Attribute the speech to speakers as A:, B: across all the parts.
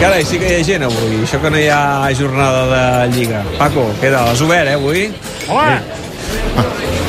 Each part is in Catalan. A: Carai, sí que hi ha gent avui, això que no hi ha jornada de Lliga. Paco, què tal? Has obert, eh, avui?
B: Hola!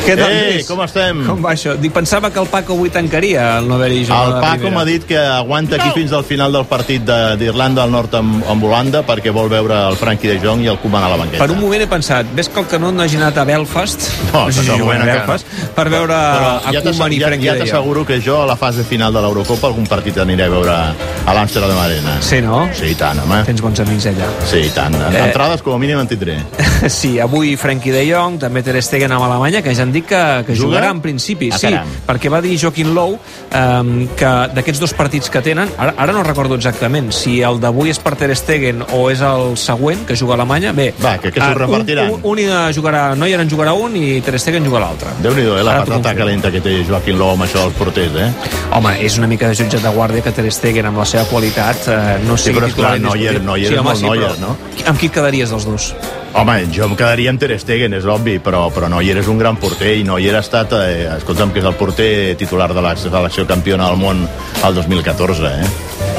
A: Què tal,
B: Ei,
A: Lluís?
B: com estem?
A: Com va això? Dic, pensava que el Paco avui tancaria el no haver-hi
B: El
A: jornada
B: Paco m'ha dit que aguanta aquí fins al final del partit de- d'Irlanda del Nord amb, amb Holanda perquè vol veure el Frankie de Jong i el Koeman a la banqueta.
A: Per un moment he pensat, ves que el Canó no hagi anat a Belfast,
B: No,
A: sé si
B: però
A: juguen a
B: bueno,
A: Belfast, per veure a
B: ja t'asse-
A: Koeman i
B: ja,
A: Frenkie
B: ja
A: de Jong.
B: t'asseguro que jo a la fase final de l'Eurocopa algun partit aniré a veure a l'Amsterdam Arena.
A: Sí, no?
B: Sí, i tant, home.
A: Tens bons amics allà.
B: Sí, i tant.
A: Eh.
B: Entrades com a mínim en tindré.
A: Sí, avui Frenkie de Jong, també Ter Stegen amb Alemanya, que ja han dit que, que
B: Juga?
A: jugarà en principi,
B: Ah,
A: sí,
B: caram.
A: perquè va dir Joaquim Low eh, que d'aquests dos partits que tenen, ara, ara no recordo exactament si el d'avui és per Ter Stegen o és el següent, que juga a Alemanya, bé...
B: Va, que- que s'ho
A: eh,
B: repartiran.
A: Un, un, un hi jugarà, Neuer en jugarà un i Ter Stegen jugarà l'altre.
B: Déu-n'hi-do, eh, la
A: Ara t'ho
B: patata
A: confirmo.
B: calenta que té Joaquim Ló amb això dels porters, eh?
A: Home, és una mica de jutge de guàrdia que Ter Stegen, amb la seva qualitat, eh, no
B: Sí,
A: sigui
B: però és
A: titular
B: clar, Neuer-
A: indiscutible.
B: Neuer és molt Neuer,
A: però
B: no?
A: Amb qui et quedaries dels dos?
B: Home, jo em quedaria amb Ter Stegen, és obvi, però, però Neuer és un gran porter i Neuer ha estat, eh, escolta'm, que és el porter titular de la selecció campiona del món al 2014, eh?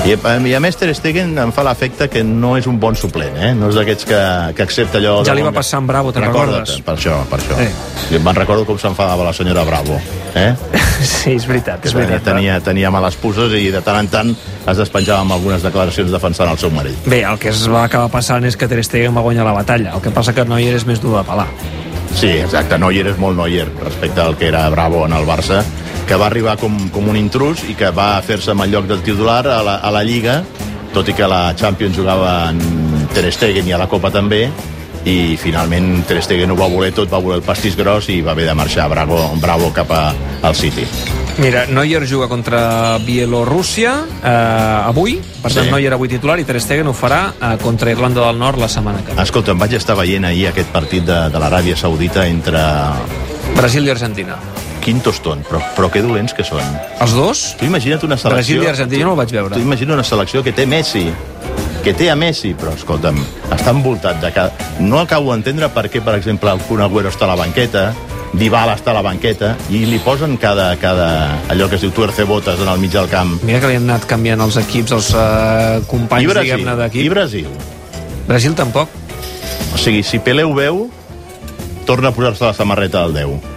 B: I, eh, I a més Ter Stegen em fa l'efecte que no és un bon suplent, eh? No és d'aquests que, que accepta allò...
A: Ja
B: de
A: li va
B: bon-
A: passar amb Bravo, te'n
B: Recorda't,
A: recordes?
B: Per això, per això.
A: Eh.
B: Eh. Me'n recordo com s'enfadava la senyora Bravo, eh?
A: Sí, és veritat, és
B: Tenia,
A: veritat.
B: tenia, tenia males puces i de tant en tant es despenjava amb algunes declaracions defensant el seu marit.
A: Bé, el que es va acabar passant és que Ter Stegen va guanyar la batalla. El que passa que Neuer és més dur de pelar.
B: Sí, exacte, Neuer és molt Neuer respecte al que era Bravo en el Barça que va arribar com, com un intrus i que va fer-se amb el lloc del titular a la, a la Lliga, tot i que la Champions jugava en Ter Stegen i a la Copa també, i finalment Ter Stegen ho va voler tot, va voler el pastís gros i va haver de marxar Bravo, Bravo cap a, al City.
A: Mira, Neuer juga contra Bielorússia eh, avui, per tant
B: Sí.
A: Neuer avui titular i Ter Stegen ho farà eh, contra Irlanda del Nord la setmana que ve.
B: Escolta, em vaig estar veient ahir aquest partit de, de l'Aràbia Saudita entre
A: Brasil i Argentina.
B: Quintoston, però, però que dolents que són.
A: Els dos?
B: Tu imagina't una selecció...
A: Brasil i Argentina no el vaig
B: Tu
A: veure.
B: imagina una selecció que té Messi, que té a Messi, però escolta'm, està envoltat de cada... No acabo d'entendre per què, per exemple, el Kun Agüero està a la banqueta, Dybala està a la banqueta, i li posen cada, cada allò que es diu tuerce botes en el mig del camp.
A: Mira que li han anat canviant els equips, els eh,
B: I
A: companys,
B: Brasil,
A: diguem-ne,
B: i
A: d'equip.
B: Brasil.
A: Brasil tampoc.
B: O sigui, si Pelé ho veu, torna a posar-se la samarreta del 10.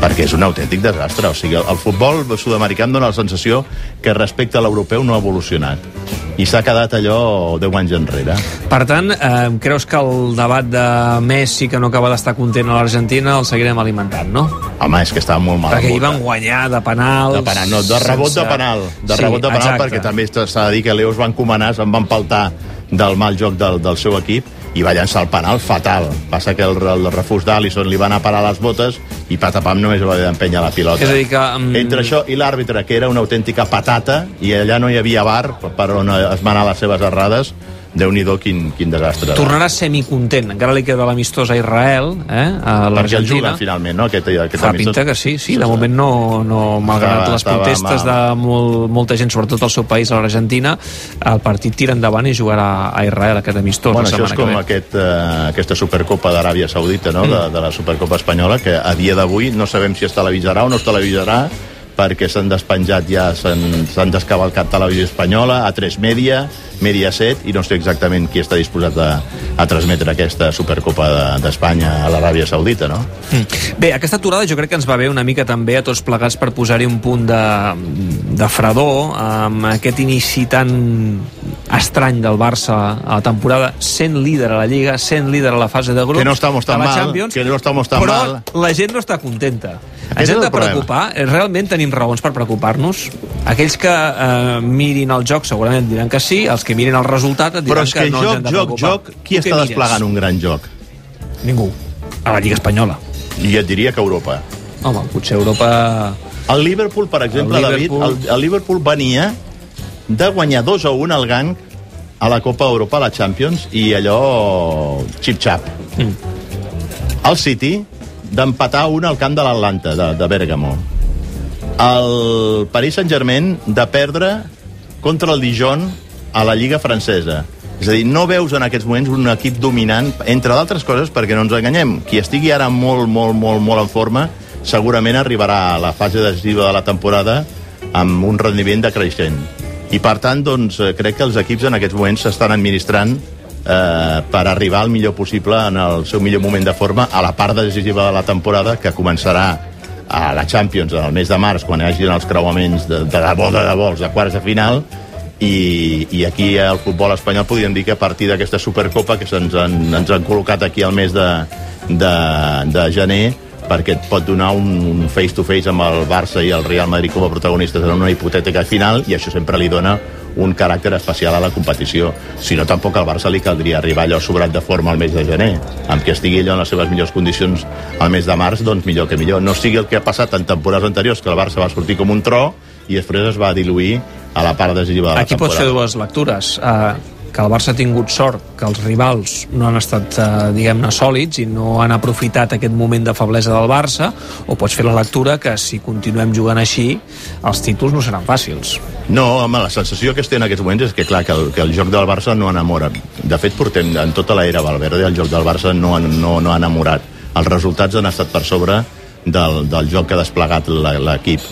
B: Perquè és un autèntic desastre. O sigui, el futbol sud-americà em dóna la sensació que respecte a l'europeu no ha evolucionat. I s'ha quedat allò 10 anys enrere.
A: Per tant, eh, creus que el debat de Messi, que no acaba d'estar content a l'Argentina, el seguirem alimentant, no?
B: Home, és que estava molt mal.
A: Perquè hi van
B: envoltat.
A: guanyar de penals...
B: de penal, no, de rebot de penal, de rebot de penal perquè també s'ha s'ha de dir que l'Eus van comanar, se'n van paltar del mal joc del, del seu equip i va llançar el penal fatal. Passa que el, el refús d'Alisson li van anar a parar les botes i patapam només va haver d'empènyer la pilota.
A: És a dir que, mm,
B: Entre això i l'àrbitre, que era una autèntica patata, i allà no hi havia bar per on esmenar les seves errades, Déu-n'hi-do, quin, quin desastre.
A: Tornarà semicontent, encara li queda l'amistós a Israel, eh, a
B: Perquè el
A: l'Argentina.
B: juguen, finalment, no? Aquest, aquest
A: Fa
B: amistós.
A: pinta que sí, sí, de moment no, no malgrat
B: Estava-
A: les
B: estava
A: protestes de
B: mal.
A: molt, molta gent, sobretot al seu país, a l'Argentina, el partit tira endavant i jugarà a Israel aquest amistós la
B: Bueno, això
A: setmana
B: és com
A: que ve. Mm.
B: aquest, eh, aquesta Supercopa d'Aràbia Saudita, no? de, de la Supercopa Espanyola, que a dia d'avui no sabem si es televisarà o no es televisarà, perquè s'han despenjat ja, s'han s'han descavalcat Televisió Espanyola, a 3 Media, Media 7, i no sé exactament qui està disposat a, a transmetre aquesta Supercopa de- d'Espanya a l'Aràbia Saudita, no?
A: Mm. Bé, aquesta aturada jo crec que ens va bé una mica també a tots plegats per posar-hi un punt de, de fredor amb aquest inici tan estrany del Barça a la temporada, sent líder a la Lliga, sent líder a la fase de grups,
B: Que no estamos tan
A: a la
B: mal,
A: Champions,
B: que no estamos tan
A: però
B: mal.
A: la gent no està contenta.
B: és
A: Ens hem
B: el
A: de
B: problema.
A: preocupar, Eh, realment tenim raons per preocupar-nos. Aquells que eh, mirin el joc segurament et diran que sí, els que mirin el resultat et diran
B: Però és que,
A: no ens hem
B: joc,
A: de
B: joc,
A: preocupar.
B: joc, qui
A: Tu què
B: està
A: mires?
B: desplegant un gran joc?
A: Ningú. A la Lliga Espanyola.
B: I et diria que Europa.
A: Home, potser Europa
B: El Liverpool, per exemple,
A: El
B: el
A: Liverpool-
B: David, el, el Liverpool venia de guanyar 2 a 1 al Gang a la Copa Europa, a la Champions, i allò xip-xap.
A: Mm.
B: El City d'empatar un al camp de l'Atlanta, de, de Bèrgamo. El Paris Saint-Germain de perdre contra el Dijon a la Lliga Francesa. És a dir, no veus en aquests moments un equip dominant, entre d'altres coses, perquè no ens enganyem. Qui estigui ara molt, molt, molt, molt en forma, segurament arribarà a la fase decisiva de la temporada amb un rendiment decreixent. I per tant, doncs, eh, crec que els equips en aquests moments s'estan administrant eh, per arribar al millor possible en el seu millor moment de forma a la part decisiva de la temporada que començarà a la Champions en el mes de març quan hi hagin els creuaments de, de la boda de vols de quarts de final i, i aquí al futbol espanyol podríem dir que a partir d'aquesta Supercopa que se'ns han, ens han col·locat aquí al mes de, de, de gener perquè et pot donar un, un face-to-face amb el Barça i el Real Madrid com a protagonistes en una hipotètica final i això sempre li dona un caràcter especial a la competició. Si no, tampoc al Barça li caldria arribar allò sobrat de forma al mes de gener. Amb que estigui allò en les seves millors condicions al mes de març, doncs millor que millor. No sigui el que ha passat en temporades anteriors, que el Barça va sortir com un tro i després es va diluir a la part decisiva de la
A: Aquí pots
B: temporada.
A: fer dues lectures. Uh, que el Barça ha tingut sort, que els rivals no han estat, eh, diguem-ne, sòlids i no han aprofitat aquest moment de feblesa del Barça, o pots fer la lectura que si continuem jugant així, els títols no seran fàcils.
B: No, home, la sensació que es té en aquests moments és que, clar, que el, que el joc del Barça no enamora. De fet, portem en tota l'era Valverde, el joc del Barça no, en- no, no ha enamorat. Els resultats han estat per sobre del, del joc que ha desplegat la- l'equip.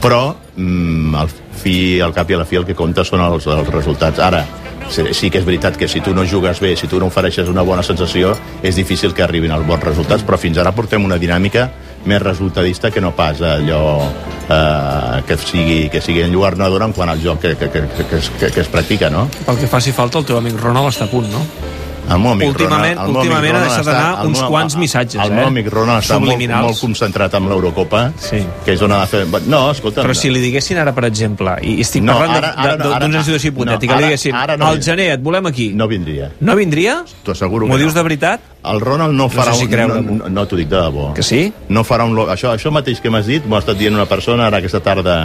B: Però, mm, al, fi, al cap i a la fi, el que compta són els, els resultats. Ara, sí, sí que és veritat que si tu no jugues bé, si tu no ofereixes una bona sensació, és difícil que arribin els bons resultats, però fins ara portem una dinàmica més resultadista que no pas allò eh, que sigui, que sigui enlluernadora en quant al joc que, que, que, que, es, que, que es practica, no?
A: Pel que faci falta, el teu amic Ronald està a punt, no?
B: Doncs El meu amic
A: Últimament-
B: Ronald, el meu amic
A: últimament ha
B: Ronald
A: deixat
B: està-
A: anar
B: el
A: uns
B: meu-
A: quants missatges,
B: El
A: eh?
B: meu amic Ronald està molt,
A: Subliminals.
B: molt concentrat amb l'Eurocopa,
A: Sí.
B: que és on ha de fer... No, escolta...
A: Però si li diguessin ara, per exemple, i i estic
B: No,
A: parlant
B: ara- ara
A: de-
B: no,
A: de-
B: ara-
A: d'una situació hipotètica,
B: no,
A: li
B: ara-
A: diguessin,
B: ara no
A: al
B: vindria.
A: gener et volem aquí.
B: No vindria.
A: No vindria?
B: T'ho asseguro
A: M'ho
B: que
A: dius
B: no.
A: de veritat?
B: El Ronald no farà...
A: sé si
B: un-
A: creure-m'ho.
B: no, no, no t'ho dic de debò.
A: Que sí?
B: No farà un... lo- Això, això mateix que m'has dit m'ho ha estat dient una persona ara aquesta tarda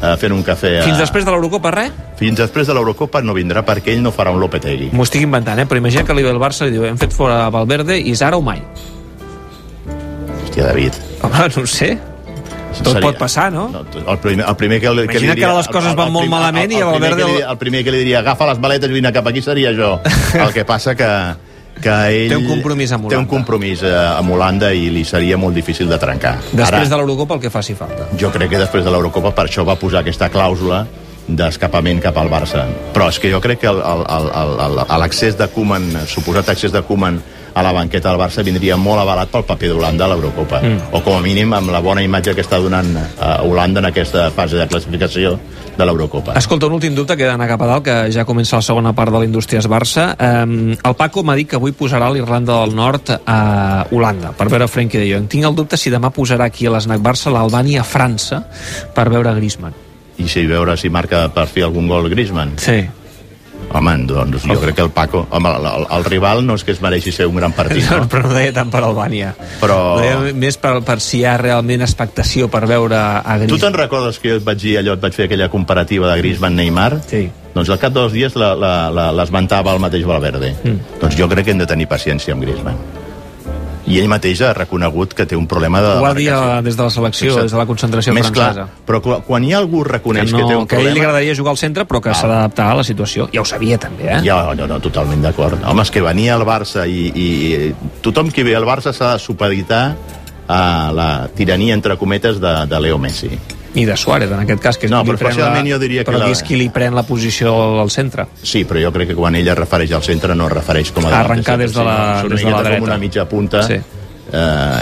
B: eh, fent un cafè. A...
A: Fins després de l'Eurocopa, res?
B: Fins després de l'Eurocopa no vindrà perquè ell no farà un Lopetegui.
A: M'ho estic inventant, eh? Però imagina que li ve el Barça i li diu hem fet fora Valverde i és ara o mai.
B: Hòstia, David.
A: Home, no ho sé. Tot pot passar, no?
B: no el, primer, el primer que, li- que li
A: Imagina que
B: diria...
A: ara les coses van molt
B: prim-
A: malament i el Valverde-
B: primer que li diria- El primer que li diria agafa les maletes i vine cap aquí seria jo. El que passa que que ell
A: Té un compromís amb
B: té un
A: Holanda.
B: compromís eh, amb Holanda i li seria molt difícil de trencar.
A: Després de l'Eurocopa el que faci falta.
B: Jo crec que després de l'Eurocopa per això va posar aquesta clàusula d'escapament cap al Barça. Però és que jo crec que el- el- el- el- el- l'accés de Koeman, el suposat accés de Koeman a la banqueta del Barça vindria molt avalat pel paper d'Holanda a l'Eurocopa. Mm. O com a mínim amb la bona imatge que està donant eh, Holanda en aquesta fase de classificació de l'Eurocopa.
A: Escolta, un últim dubte que he d'anar cap a dalt, que ja comença la segona part de la Indústries Barça. Um, el Paco m'ha dit que avui posarà l'Irlanda del Nord a Holanda, per veure Frenkie de Jong. Tinc el dubte si demà posarà aquí a l'Snac Barça l'Albània a França per veure Griezmann.
B: I si veure si marca per fi algun gol Griezmann.
A: Sí.
B: Home, doncs jo crec que el Paco... Home, el, el, el rival no és que es mereixi ser un gran partit,
A: No,
B: no?
A: però no deia tant per Albània.
B: Però-
A: Ho Deia més per, per si hi ha realment expectació per veure a
B: Tu te'n
A: Griezmann.
B: recordes que jo et vaig dir allò, et vaig fer aquella comparativa de Griezmann-Neymar?
A: Sí.
B: Doncs al cap de dos dies la- la- la- l'esmentava el mateix Valverde. Mm. Doncs jo crec que hem de tenir paciència amb Griezmann. I ell mateix ha reconegut que té un problema de...
A: Ho va dir
B: demarcació.
A: a- des de la selecció,
B: Fixa't.
A: des de la concentració
B: Més
A: francesa.
B: Clar, però quan- quan hi ha algú
A: que,
B: reconeix
A: no,
B: que, té un
A: que a ell li
B: problema... Ah.
A: agradaria jugar al centre però que s'ha d'adaptar a la situació ja ho sabia també eh?
B: Ja, no, no, totalment d'acord. Home, és que venia al Barça i, i tothom que ve al Barça s'ha de supeditar a la tirania, entre cometes, de, de Leo Messi.
A: i de Suárez en aquest cas que és
B: No,
A: qui li
B: però
A: pren
B: especialment jo diria que
A: però
B: la-
A: qui és qui li pren la posició al centre
B: Sí, però jo crec que quan ella es refereix al centre no es refereix com a...
A: Arrencar
B: davanters,
A: des de la-
B: sinó-
A: des
B: és una
A: de la
B: miqueta
A: dreta.
B: Com una mitja punta,
A: Sí.
B: sí.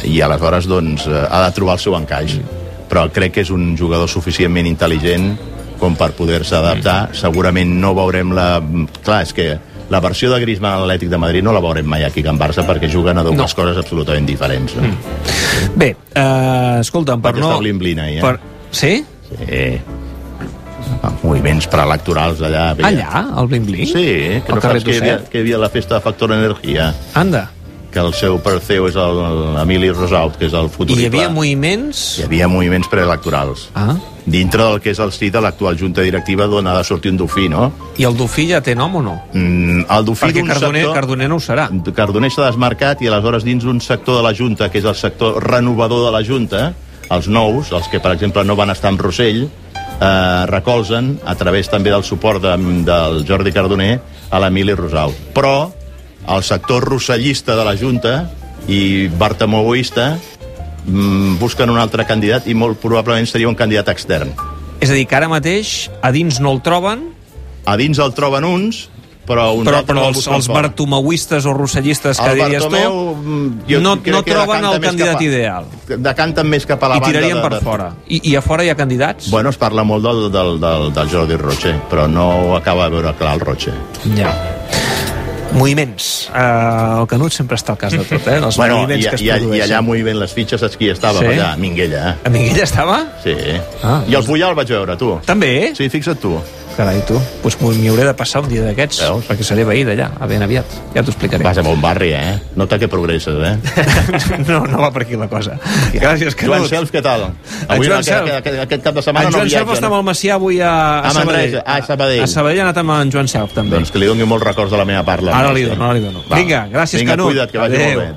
B: eh, i aleshores doncs, eh, ha de trobar el seu encaix.
A: Mm.
B: Però crec que és un jugador suficientment intel·ligent com per poder-se
A: Mm.
B: adaptar. Segurament no veurem la... Clar, és que la versió de Griezmann a l'Atlètic de Madrid no la veurem mai aquí a Can Barça perquè juguen a dues
A: No.
B: coses absolutament diferents. No? Mm.
A: bé, eh, escolta'm per
B: Perquè
A: no...
B: està blin-blin ahir, eh?
A: Sí?
B: Sí. Ah, Moviments preelectorals
A: Ah,
B: allà. veia.
A: Allà, al Bling Bling?
B: Sí, que
A: Al
B: no
A: carrer
B: saps que hi, havia,
A: Tuset?
B: que hi havia la festa de Factor Energia.
A: Anda,
B: que el seu Perseu és el- l'Emili Rosaut, que és el
A: i
B: futurista.
A: hi havia moviments...
B: hi havia moviments preelectorals.
A: Ah,
B: Dintre del que és el sí de l'actual junta directiva d'on ha de sortir un dofí, no?
A: i el Dofí ja té nom o no?
B: Mm, el dofí
A: Perquè
B: d'un
A: Cardoner,
B: sector...
A: Cardoner no ho serà.
B: Cardoner s'ha desmarcat i aleshores dins d'un sector de la Junta, que és el sector renovador de la Junta, els nous, els que per exemple no van estar amb Rossell, eh, recolzen a través també del suport de, del Jordi Cardoner a l'Emili Rosau. Però el sector rossellista de la Junta i bartamogoista mm, busquen un altre candidat i molt probablement seria un candidat extern.
A: És a dir, que ara mateix a dins no el troben
B: a dins el troben uns, però uns
A: Però,
B: altres
A: però
B: el
A: els,
B: busquen
A: els
B: fora.
A: bartomeuistes o russellistes que
B: El
A: diries
B: Bartomeu,
A: tu
B: mm, jo
A: no,
B: crec
A: no
B: que
A: troben
B: decanta
A: el
B: més
A: candidat
B: cap a-
A: ideal
B: Decanten més cap a la
A: i
B: banda...
A: tirarien
B: de-
A: per
B: de-
A: fora. I, I a fora hi ha candidats?
B: Bueno, es parla molt del, del, del, del Jordi Roche, però no ho acaba de veure clar el Roche.
A: Ja. Moviments. Uh, el Canut sempre està al cas de tot, eh? Els
B: Bueno, i,
A: moviments que es
B: i, i allà
A: produeixen.
B: molt ben les fitxes, saps qui estava
A: Sí?
B: sí? allà? Minguella, eh?
A: A Miguel estava?
B: Sí.
A: Ah,
B: Ah, I el Puyol el vaig veure, tu.
A: També, eh?
B: Sí, fixa't tu.
A: Carai, tu. Doncs pues m'hi hauré de passar un dia d'aquests,
B: Veus?
A: perquè seré veí d'allà, a ben aviat. Ja t'ho explicaré.
B: Vas a bon barri, eh? Nota que progresses, eh?
A: no, no va per aquí la cosa. Gràcies,
B: Joan
A: Canut.
B: Self, què tal?
A: En Joan
B: aquest,
A: Self.
B: aquest, aquest cap de setmana
A: En Joan
B: no
A: Self
B: viatja.
A: està amb el Macià avui a, a,
B: A
A: Sabadell.
B: Manresa, a Sabadell.
A: A Sabadell ha anat amb en Joan Self, també.
B: Doncs que li doni molts records de la meva parla.
A: Ara li dono, ara li dono.
B: Va.
A: Vinga, gràcies,
B: Vinga,
A: Canut.
B: cuida't, que vagi
A: Adéu.
B: molt bé.